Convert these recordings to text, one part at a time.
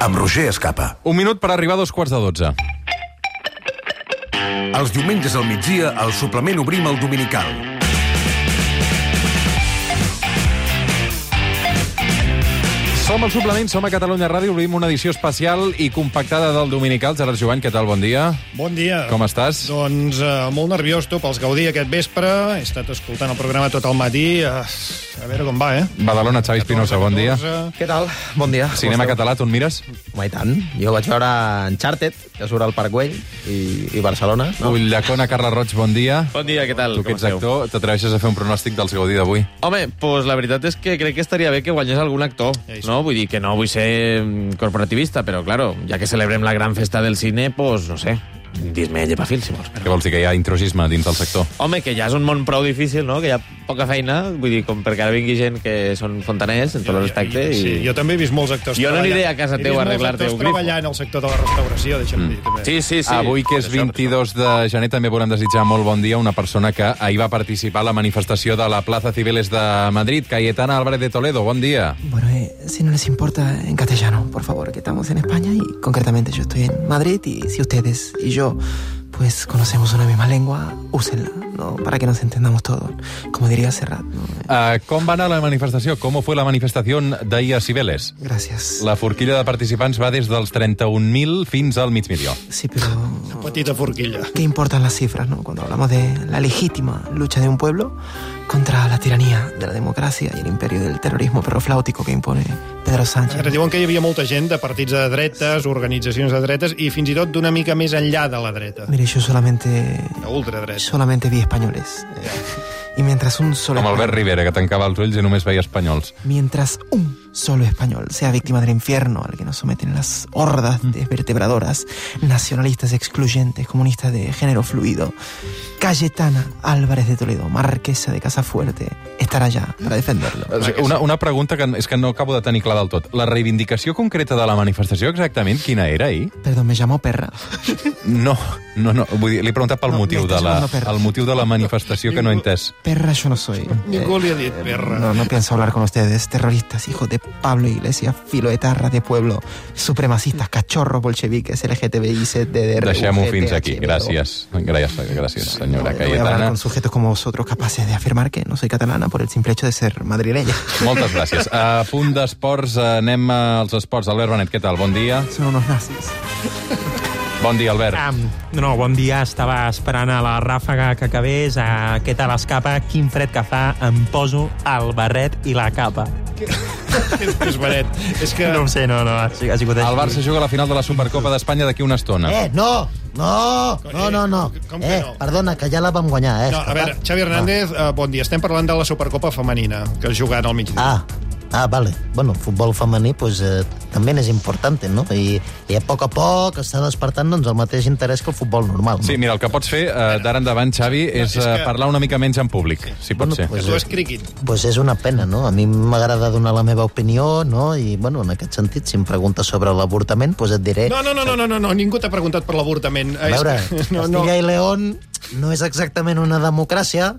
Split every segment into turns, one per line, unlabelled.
amb Roger Escapa.
Un minut per arribar a dos quarts de dotze.
Els diumenges al migdia, al suplement obrim el dominical.
Som al suplement, som a Catalunya Ràdio, obrim una edició especial i compactada del Dominical. Gerard Joan, què tal? Bon dia.
Bon dia.
Com estàs?
Doncs uh, molt nerviós, tu, pels Gaudí aquest vespre. He estat escoltant el programa tot el matí. Uh, a veure com va, eh? Doncs,
Badalona, Xavi Espinosa, bon dia.
14.
Què tal? Bon dia.
Cinema
Com esteu?
català, tu en mires?
Home, i tant. Jo vaig veure Uncharted, que surt al Parc Güell i, i Barcelona. No?
Ullacona, Carla Roig, bon dia.
Bon dia, què tal?
Tu que ets actor, t'atreveixes a fer un pronòstic dels Gaudí d'avui.
Home, doncs la veritat és que crec que estaria bé que guanyés algun actor,
Ja hi
no? Vull dir que no vull ser mm, corporativista, però, claro, ja que celebrem la gran festa del cine, doncs, no sé, dis-me llepafil, si vols.
Què vols dir, que hi ha intrusisme dins del sector?
Home, que ja és un món prou difícil, no? Que hi ha poca feina, vull dir, com perquè ara vingui gent que són fontaners, en tot el respecte, i...
Sí, jo també he vist molts actors
Jo no aniré a casa
He vist
teu a
molts
arreglar-te
actors
un grifo.
treballant al sector de la restauració,
Mm.
deixa'm dir. També.
sí, sí, sí.
Avui, que és 22 de gener, també volem desitjar molt bon dia a una persona que ahir va participar a la manifestació de la Plaza Cibeles de Madrid, Cayetana Álvarez de Toledo. Bon dia.
Bueno, eh, si no les importa, en castellano, por favor, que estamos en España y concretamente yo estoy en Madrid y si ustedes y yo pues conocemos una misma lengua, úsenla, ¿no? Para que nos entendamos todos, como diría Serrat. ¿no?
Uh, com va anar la manifestació? Com fue la manifestació d'ahir a Cibeles?
Gracias.
La forquilla de participants va des dels 31.000 fins al mig milió.
Sí, pero...
Petita forquilla.
¿Qué importan las cifras, no? Cuando hablamos de la legítima lucha de un pueblo contra la tiranía de la democracia y el imperio del terrorismo perrofláutico que impone Pedro Sánchez.
Ara diuen que hi havia molta gent de partits de dretes, organitzacions de dretes i fins i tot d'una mica més enllà de la dreta,
Mire, yo solamente...
de ultradreta.
Solamente vi españoles. eh, Y mientras un solo...
Amb Albert
español-
Rivera, que tancava els ulls i només veia espanyols.
Mientras un solo español sea víctima del infierno al que nos someten las hordas desvertebradoras, nacionalistas excluyentes, comunistas de género fluido, Cayetana Álvarez de Toledo, marquesa de Casafuerte, estará allá para defenderlo.
O sigui, Eh, Una, una pregunta que és que no acabo de tenir clar del tot. La reivindicació concreta de la manifestació exactament quina era ahir?
Perdón, me llamó perra.
No, no, no. Vull dir, li he preguntat pel
No,
motiu, de
m'estàs
la,
llamando perra.
el motiu de la manifestació que no he entès.
Perra yo no soy.
Ningú
Eh,
li ha dit perra.
no, no pienso hablar con ustedes, terroristas, hijos de Pablo Iglesias, filoetarras de pueblo, supremacistas, cachorros, bolcheviques, LGTBI, ZDR.
Deixem-ho fins
UGT,
aquí.
HBO.
Gràcies. Gràcies, gràcies senyora
No, no voy a hablar
Cayetana.
con sujetos como vosotros capaces de afirmar que no soy catalana por el simple hecho de ser madrileña.
Moltes gràcies. A punt d'esports, eh, anem als esports. Albert Benet, què tal? Bon dia.
Son unos nazis.
Bon dia, Albert.
Um, no, bon dia. Estava esperant a la ràfaga que acabés. A què tal escapa? Quin fred que fa. Em poso el barret i la capa.
És baret. És que...
No ho sé, no, no. Ha sigut ha sigut així.
El Barça juga la final de la Supercopa d'Espanya d'aquí una estona.
Eh, no, no, no, no, no.
Com que
Eh,
no?
perdona, que ja la vam guanyar, eh.
No, a
escapa.
veure, Xavi Hernández, eh, bon dia. Estem parlant de la Supercopa femenina, que es jugarà al migdia.
Ah. Ah, ah, vale. Bueno, el futbol femení pues, eh, també és important, no? I, I a poc a poc està despertant doncs, el mateix interès que el futbol normal. No?
Sí, mira, el que pots fer eh, d'ara endavant, Xavi, és
és
eh,
que-
parlar una mica menys en públic, si pot
Bueno,
ser.
Que
pues,
tu
eh,
és críquet.
pues és una pena, no? A mi m'agrada donar la meva opinió, no? I, bueno, en aquest sentit, si em preguntes sobre l'avortament, pues et diré...
No, no, no, no, no, no, no. ningú t'ha preguntat per l'avortament.
A veure,
no, no.
Castilla i León no és exactament una democràcia,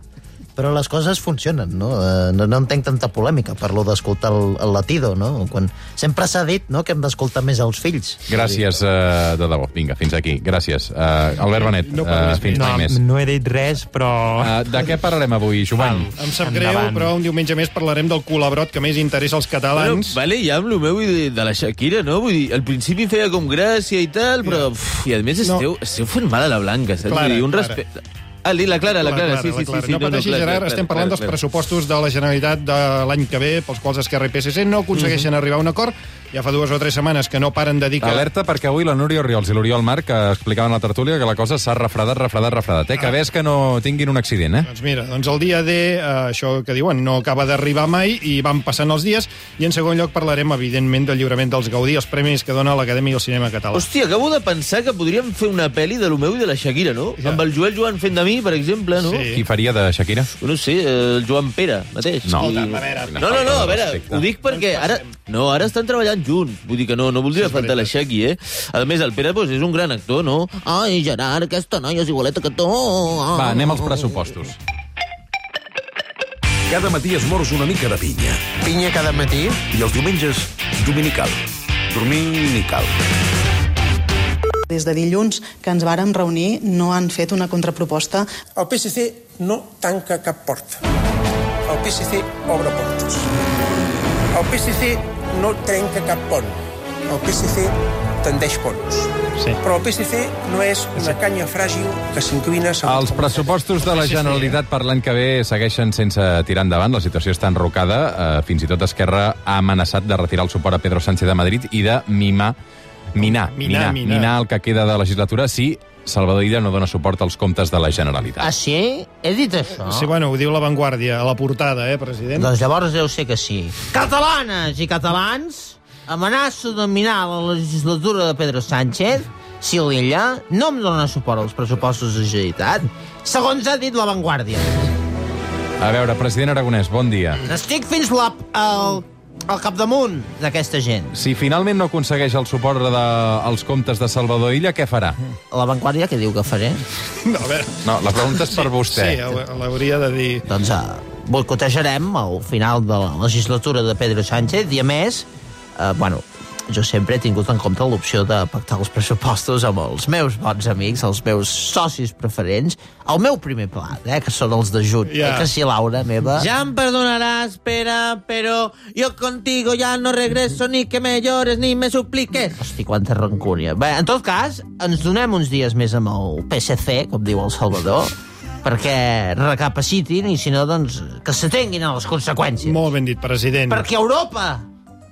però les coses funcionen, no? Eh, No, no entenc tanta polèmica per lo d'escoltar el, el latido, no? Quan sempre s'ha dit no, que hem d'escoltar més els fills.
Gràcies, eh, de debò. Vinga, fins aquí. Gràcies. Eh, Albert Benet,
No
eh,
parlis
fins
no,
mai més.
no he dit res, però...
Eh, de què parlarem avui, Jovany?
Em sap greu,
Endavant.
però un diumenge més parlarem del colabrot que més interessa als catalans.
Bueno, vale, ja amb el meu i de, de la Shakira, no? Vull dir, al principi feia com gràcia i tal, però... Uf, I a més
No.
esteu, esteu fent mal a la Blanca, saps?
Clara,
Vull dir, un
Clara.
respecte... Ah, li- la Clara, la Clara, sí, sí, sí. sí
No, pateixis,
Clara,
Gerard,
Clara,
estem parlant
Clara,
dels
Clara.
pressupostos de la Generalitat de l'any que ve, pels quals Esquerra i PSC no aconsegueixen
Mhm.
arribar a un acord. Ja fa dues o tres setmanes que no paren de dir que...
Alerta perquè avui la Núria Oriols i l'Oriol Marc que explicaven a la tertúlia que la cosa s'ha refredat, refredat, refredat. Té que bé és que no tinguin un accident, eh?
Doncs mira, doncs el dia D, eh, això que diuen, no acaba d'arribar mai i van passant els dies. I en segon lloc parlarem, evidentment, del lliurament dels Gaudí, els premis que dona l'Acadèmia del Cinema Català.
Hòstia, acabo de pensar que podríem fer una pel·li de lo meu i de la Shakira, no?
Ja.
Ja. Amb el Joel Joan fent de mi, per exemple, no?
Sí.
Qui faria de Shakira?
No sé, eh, el Joan Pere mateix.
No.
I...
Escolta'm, a veure.
no, no, no, a veure,
Respecte.
ho dic perquè ara... No, ara estan treballant junts. Vull dir que no, no
Sí,
voldria
és
faltar la
veritat.
Shaki, eh? A més, el Pere doncs, és un gran actor, no? Ai, Gerard, aquesta noia és igualeta que tu.
Ah.
Va, anem als pressupostos.
Cada matí esmorzo una mica de pinya.
Piña cada matí.
I els diumenges, dominical. Dormir ni cal.
Des de dilluns que ens vàrem reunir no han fet una contraproposta.
El PSC no tanca cap porta. El PSC obre portes. El PSC no trenca cap pont. El PSC tendeix ponts.
Sí.
Però el PSC no és una canya fràgil que s'inclina... segons
Els
com-
pressupostos de
El
la
PSC
Generalitat per l'any que ve segueixen sense tirar endavant. La situació està enrocada. Eh, Fins i tot Esquerra ha amenaçat de retirar el suport a Pedro Sánchez de Madrid i de mimar, minar, minar, minar,
minar.
minar el que queda de legislatura si Salvador Illa no dona suport als comptes de la Generalitat.
Ah, Eh, sí? He dit això?
Sí, bueno, ho diu La Vanguardia, a la portada, eh, president?
Doncs llavors deu ser que sí. Catalanes i catalans, amenaço de minar la legislatura de Pedro Sánchez si l'illa no em dona suport als pressupostos de Generalitat, segons ha dit La Vanguardia.
A veure, president Aragonès, bon dia.
Estic fins la, al, al capdamunt d'aquesta gent.
Si finalment no aconsegueix el suport dels de, als comptes de Salvador Illa, què farà?
La Vanguardia què diu que faré?
No, a veure,
No, la pregunta és per vostè.
sí, ho- l'hauria de dir...
Doncs uh, boicotejarem el final de la legislatura de Pedro Sánchez i, a més, uh, bueno, jo sempre he tingut en compte l'opció de pactar els pressupostos amb els meus bons amics, els meus socis preferents, el meu primer pla, eh, que són els de Junts.
Ja.
Yeah. Eh, que si Laura, meva...
Ya me perdonarás, espera, pero yo contigo ya no regreso ni que me llores ni me supliques.
Hosti, quanta rancúnia. Bé, en tot cas, ens donem uns dies més amb el PSC, com diu el Salvador, perquè recapacitin i, si no, doncs, que s'atenguin a les conseqüències.
Molt ben dit, president.
Perquè Europa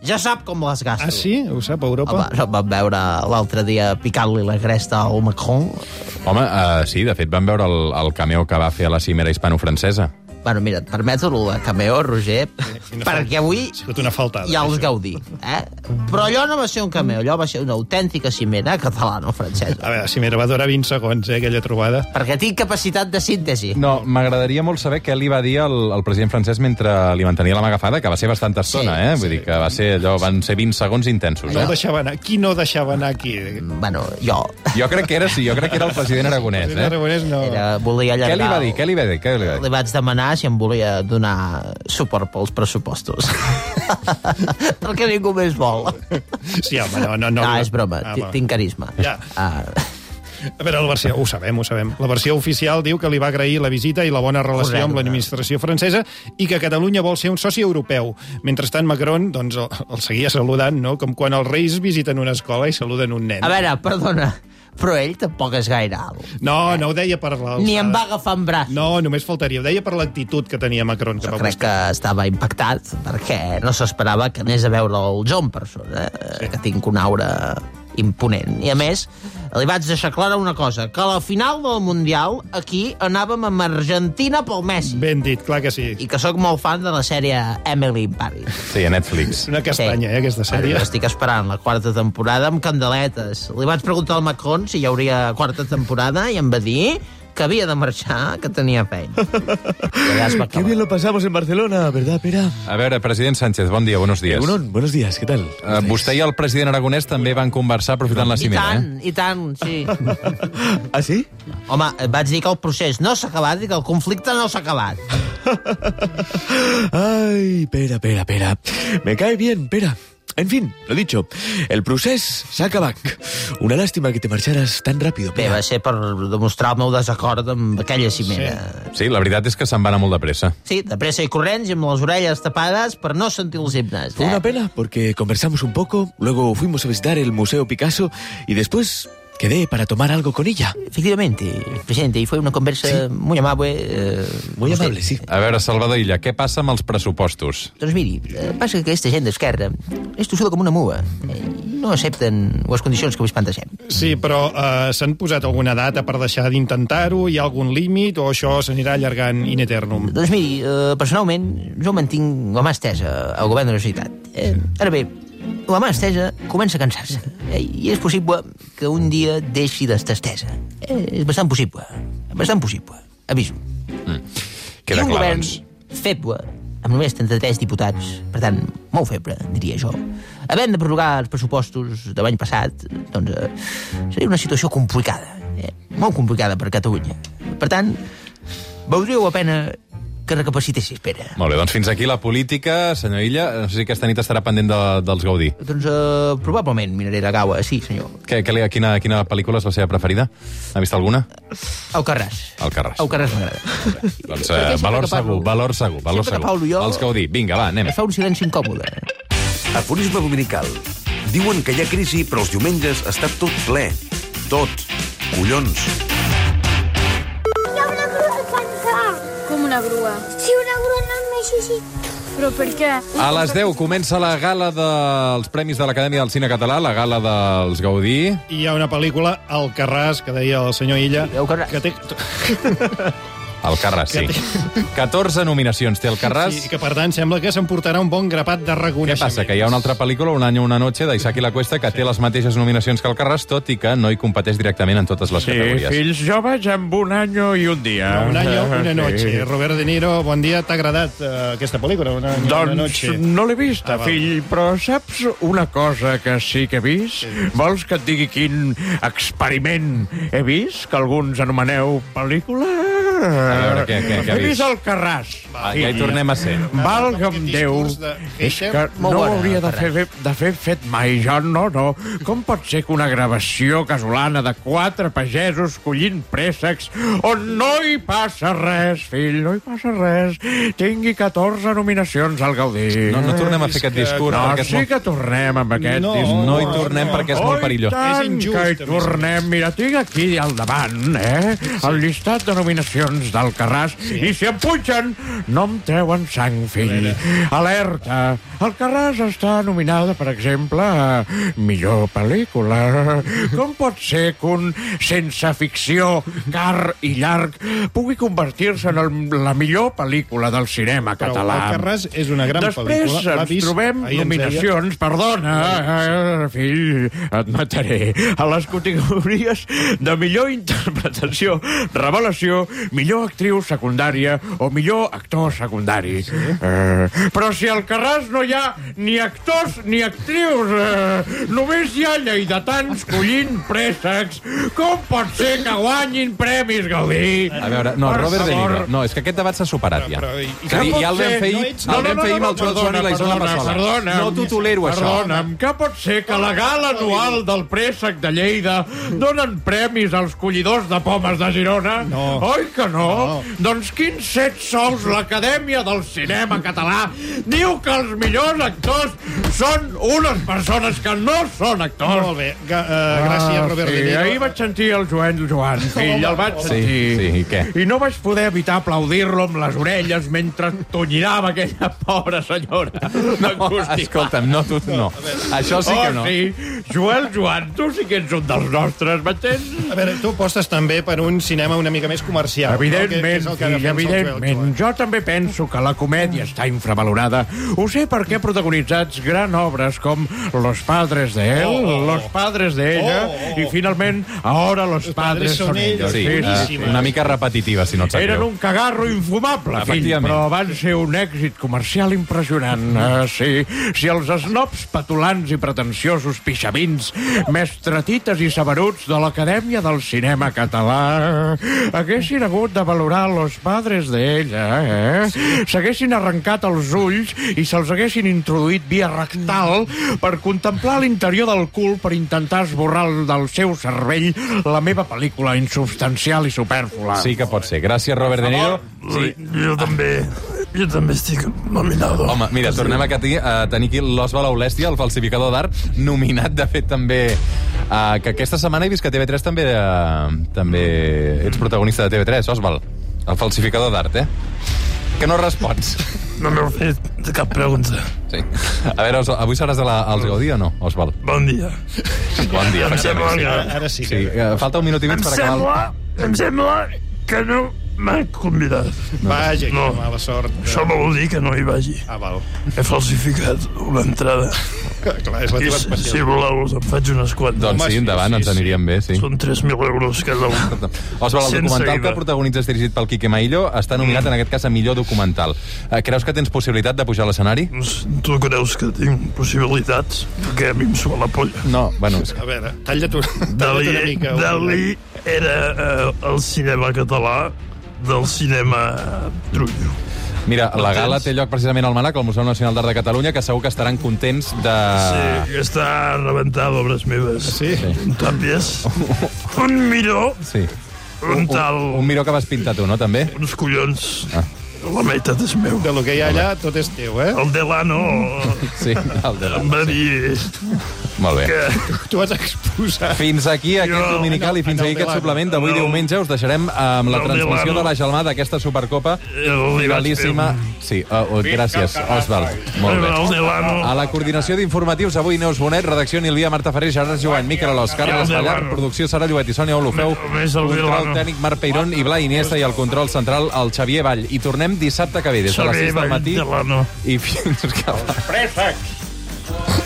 ja sap com les gasto.
Ah, sí? Ho sap, Europa?
Home, no em van veure l'altre dia picant-li la cresta al Macron.
Home, uh, sí, de fet vam veure el, el cameo que va fer a la cimera hispano-francesa.
Bueno, mira, et permeto el cameo, Roger,
quina
perquè avui
Ha sigut una faltada.
ja els
això.
gaudí. Eh? Però allò no va ser un cameo, allò va ser una autèntica cimera catalana-francesa.
A veure, si mira, va durar 20 segons, eh, aquella trobada.
Perquè tinc capacitat de síntesi.
No, m'agradaria molt saber què li va dir el, el president francès mentre li mantenia la magafada, que va ser bastanta estona, sí, eh? Vull sí. dir que va ser allò, van ser 20 segons intensos. Eh?
No deixava anar. Qui no deixava anar aquí?
Bueno, jo
Jo crec que era, sí, jo crec que era el president aragonès,
Eh?
eh?
Aragonès no...
era, volia
Què
allargar...
li va dir? Què li va dir? Què li va
Li
dir?
vaig demanar si em volia donar suport pels pressupostos. perquè ningú més vol.
Sí, home, no... No,
No,
no,
ah, és broma,
Ah,
ti-
va.
tinc carisma.
Ja.
Ah,
A veure, la versió, ho sabem, ho sabem. La versió oficial diu que li va agrair la visita i la bona relació
Correcte.
amb l'administració francesa i que Catalunya vol ser un soci europeu. Mentrestant, Macron doncs, el, el seguia saludant, no? com quan els reis visiten una escola i saluden un nen.
a veure, perdona, però ell tampoc és gaire alt.
No, no ah. ho deia per la...
Ni em va agafar en braç.
No, només faltaria. Ho deia per l'actitud que tenia Macron.
Jo
cap a
crec que estava impactat perquè no s'esperava que anés a veure el jo en persona, eh, que tinc una aura imponent. I a més, li vaig deixar clara una cosa, que a la final del Mundial aquí anàvem amb Argentina pel Messi.
Ben dit, clar que sí.
I que sóc molt fan de la sèrie Emily in Paris.
Sí, a Netflix.
És una castanya, eh, aquesta sèrie.
Ara Estic esperant la quarta temporada amb candeletes. Li vaig preguntar al Macron si hi hauria quarta temporada i em va dir que havia de marxar, que tenia feina. I allà es va acabar.
lo pasamos en Barcelona, ¿verdad, Pera?
A veure, president Sánchez, bon dia, buenos dies.
buenos días, ¿qué tal?
Eh, vostè i el president aragonès també van conversar aprofitant la
I
cimera,
tant,
eh?
i tant, sí.
¿Ah, sí?
Home, vaig dir que el procés no s'ha acabat i que el conflicte no s'ha acabat.
Ay, Pera, Pera, Pera. Me cae bien, Pera. En fin, lo dicho, el procés saca back. Una lástima que te marcharas tan rápido,
Bé,
Pera.
va ser per demostrar el meu desacord amb aquella cimera.
eh? Sí, la veritat és que se'n va anar molt de pressa.
Sí, de pressa i corrents i amb les orelles tapades per no sentir els himnes.
Fue
eh?
una pena porque conversamos un poco, luego fuimos a visitar el Museo Picasso y después quedé para tomar algo con ella.
Efectivamente, presidente, y fue una conversa muy amable. eh,
Muy
con usted.
amable, sí.
A veure, Salvador Illa, què passa amb els pressupostos?
Doncs miri, eh, passa que aquesta gent d'esquerra és tossuda com una mua. Eh, No accepten les condicions que avui plantegem.
Sí, però uh, s'han posat alguna data per deixar d'intentar-ho? Hi ha algun límit o això s'anirà allargant in eternum?
Doncs miri, eh, personalment, jo mantinc la mà estesa al govern de la Generalitat. Eh, ara bé, la mà estesa comença a cansar-se. Eh, I és possible que un dia deixi d'estar estesa. Eh, és bastant possible. Bastant possible. Aviso.
Queda
I un
clar,
govern
doncs.
feble, amb només 33 diputats, per tant, molt feble, diria jo, havent de prorrogar els pressupostos de l'any passat, doncs eh, seria una situació complicada, eh? molt complicada per Catalunya. Per tant, valdria la pena
que recapacitessis, Pere.
Molt bé, doncs fins aquí la política. Senyor Illa, no sé si aquesta nit estarà pendent de, dels Gaudí.
Doncs
eh,
uh, probablement miraré la gaua, sí, senyor.
Què, què, li- quina, quina pel·lícula és la seva preferida? Ha vist alguna?
Alcarràs.
Alcarràs.
Alcarràs m'agrada.
Doncs
Perquè
eh,
sempre
valor
que parlo-
segur, valor segur, valor
sempre que
segur.
parlo jo-
Els Gaudí, vinga, va, anem.
Em fa un silenci incòmode.
Aforisme dominical. Diuen que hi ha crisi, però els diumenges està tot ple. Tot. Collons.
Com una grua? Sí, una grua no més així. Però per què?
A les 10 comença la gala dels Premis de l'Acadèmia del Cine Català, la gala dels Gaudí.
Hi ha una pel·lícula, Alcarràs, que deia el senyor Illa, que té...
El Carràs, sí. 14 nominacions té el Carràs.
Sí, que per tant sembla que s'emportarà un bon grapat de
Què
reconeixement.
passa? Que hi ha una altra pel·lícula, Un any una noche, d'Isaac i la Cuesta, que té les mateixes nominacions que el Carràs, tot i que no hi competeix directament en totes les
Sí,
categories.
fills joves amb un any i un dia.
Un año, una noche.
Sí.
Robert De Niro, bon dia. T'ha agradat eh, aquesta pel·lícula? Un año, una
Doncs
noche.
no l'he vista,
Ah,
ah,
val.
fill, però saps una cosa que sí que he vist? Vols que et digui quin experiment he vist? Que alguns anomeneu pel·lícula? A
veure, què- què- què ha
he
vist?
vist? el Carràs.
Ah, ja hi tornem a ser.
Valga'm Déu.
discurs de
És
hater.
que no
Molt
ho
bona,
hauria de fer,
Ferran.
de fer fet mai, jo no, no. Com pot ser que una gravació casolana de quatre pagesos collint préssecs on no hi passa res, fill, no hi passa res, tingui 14 nominacions al Gaudí?
No, no tornem a fer aquest discurs,
No,
perquè és
sí
molt-
Eh, que tornem amb aquest
No,
discurs.
no hi tornem perquè és molt perillós.
Oh, i tant,
És injust,
que hi
a més a més.
tornem. Mira, tinc aquí al davant, eh?, el llistat de nominacions del Carràs, i si em punxen, no em treuen sang, fill. Alerta! El Carràs està nominada, per exemple, a millor pel·lícula. Com pot ser que un sense ficció, car i llarg, pugui convertir-se en el, la millor pel·lícula del cinema
Però
català?
Alcarràs és una gran
Després
pel·lícula. L'ha
ens
vist?
trobem
Ahir ens
nominacions, perdona, eh, fill, et mataré, a les categories de millor interpretació, revelació, millor actriu secundària o millor actor secundari. Eh, però si al Carràs no hi ha ni actors ni actrius, eh, només hi ha lleidatans collint préssecs, com pot ser que guanyin premis, Gaudí?
A veure, no,
Per
Robert De
favor.
Niro. No, és que aquest debat s'ha superat ja.
Però, però, i-
És a dir,
Què pot
ja el vam
ser?
fer
No
ahir
ets-
el vam fer ahir amb el Joan
perdona,
Joan i la Isona
perdona,
Passola.
perdona'm.
No t'ho tolero, això.
Perdona'm, que pot ser que la gala anual del préssec de Lleida donen premis als collidors de pomes de Girona? No. Oi que no? no. Doncs quins set sous l'Acadèmia del Cinema Català diu que els millors actors són unes persones que no són actors.
Molt bé. Ga- eh, gràcies, Robert
Ah, sí.
De Niro.
Ahir vaig sentir el Joan Joan, fill, el vaig
Sí,
sentir.
sí, i què?
I no vaig poder evitar aplaudir-lo amb les orelles mentre tonyinava aquella pobra senyora. No,
escolta'm, Oh, no, tu no. Això sí que no.
Oh, sí. Joel Joan, tu sí que ets un dels nostres, m'entens?
A veure, tu apostes també per un cinema una mica més comercial.
Evidentment,
no? que, que és el que
fill,
defensa el Joel
evidentment. Jo també penso que la comèdia està infravalorada. Ho sé perquè ha protagonitzat gran obres com Los padres de él,
Oh.
Los padres de ella, i finalment Ahora los, padres, son ellos.
Sí, eh, una mica repetitiva, si no et sap
Eren
greu.
un cagarro infumable, fill,
Efectivament.
però van ser un èxit comercial impressionant. Uh, sí, si els snobs petulants i pretensiosos pixavins, mestretites i saberuts de l'Acadèmia del Cinema Català eh, haguessin hagut de valorar los padres d'ella, eh? s'haguessin arrencat els ulls i se'ls haguessin introduït via rectal per contemplar l'interior del cul per intentar esborrar del seu cervell la meva pel·lícula insubstancial i superflua.
Sí que pot ser. Gràcies, Robert De Niro. Sí.
Jo també, jo també estic nominado.
Home, mira, tornem a, cati, a tenir aquí l'Osba Laulèstia, el falsificador d'art, nominat, de fet, també... Uh, que aquesta setmana he vist que a TV3 també, uh, també ets protagonista de TV3, Osval. El falsificador d'art, eh? Que no respons.
No m'heu fet cap pregunta.
Sí. A veure, Os- avui seràs de la, als Gaudí o no, Osval?
Bon dia.
Bon dia.
Em sembla
efectivament,
que-
sí.
Ara sí que-
sí. eh, Falta un minut i mig
Em
per acabar... el-
sembla, em sembla que no m'han convidat.
Vaja, que
no.
mala sort. eh,
Això no vol dir que no hi vagi.
Ah, val.
He falsificat una entrada.
Clar, és la teva
I si-
especial.
Si voleu, us en faig unes quantes.
Doncs sí, endavant, ens aniríem bé, sí.
Són 3.000 euros cada un.
Osval, el
Sense
documental
ida.
que protagonitzes dirigit pel Quique Maillo està nominat, en aquest cas, a millor documental. Eh, Creus que tens possibilitat de pujar a l'escenari?
Tu creus que tinc possibilitats? Perquè a mi em sua la polla.
No, bueno... és que-
A veure, talla-t'ho talla una
Dalí,
mica.
Dalí era eh, el cinema català del cinema trullo.
Mira, la
Contents.
gala té lloc precisament al Manac, al Museu Nacional d'Art de Catalunya, que segur que estaran contents de...
Sí, que està rebentada obres meves. Sí? Un tàpies, un miró,
Sí.
un tal...
Un, un miró que vas pintar tu, no, també?
Uns collons. Ah. La meitat és meu.
De lo que hi ha allà, tot és teu, eh?
El Delano...
Sí, el Delano,
Em va dir...
Molt bé.
Que...
Tu has exposat.
Fins aquí aquest
Jo-
dominical i fins
En el
aquí aquest
Delano.
suplement d'avui
No.
diumenge. Us deixarem amb la
El
transmissió
Delano.
de la gelmada d'aquesta Supercopa.
Eh, El eh, li vaig fer
Finalíssima. Sí, uh, uh, gràcies, Osvald. Molt
El
bé.
Delano.
A la coordinació d'informatius, avui Neus Bonet, redacció Nilvia, Marta Ferrer, Gerard Joan, Miquel Alòs, Carles
El
Ballar,
Delano.
producció Sara Lluet i Sònia Olofeu,
Només el
control
Delano.
tècnic Marc Peirón i Blai Iniesta i el control central el Xavier Vall. I tornem dissabte que ve, des de les
Xavier
6 del
Vall
matí.
Delano.
I fins que...
Préssecs!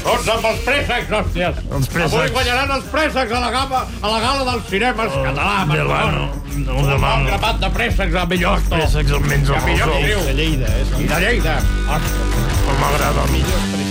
Tots Doncs amb els préssecs, hòsties! Els
préssecs.
Avui guanyaran els préssecs a la, gama, a la gala dels cinemes oh, català.
Delano. El
Un
Delano.
grapat de préssecs a millor actor.
Préssecs el menys
Que
el
millor
sol.
eh?
actriu.
De Lleida, és.
I de Lleida.
M'agrada el millor.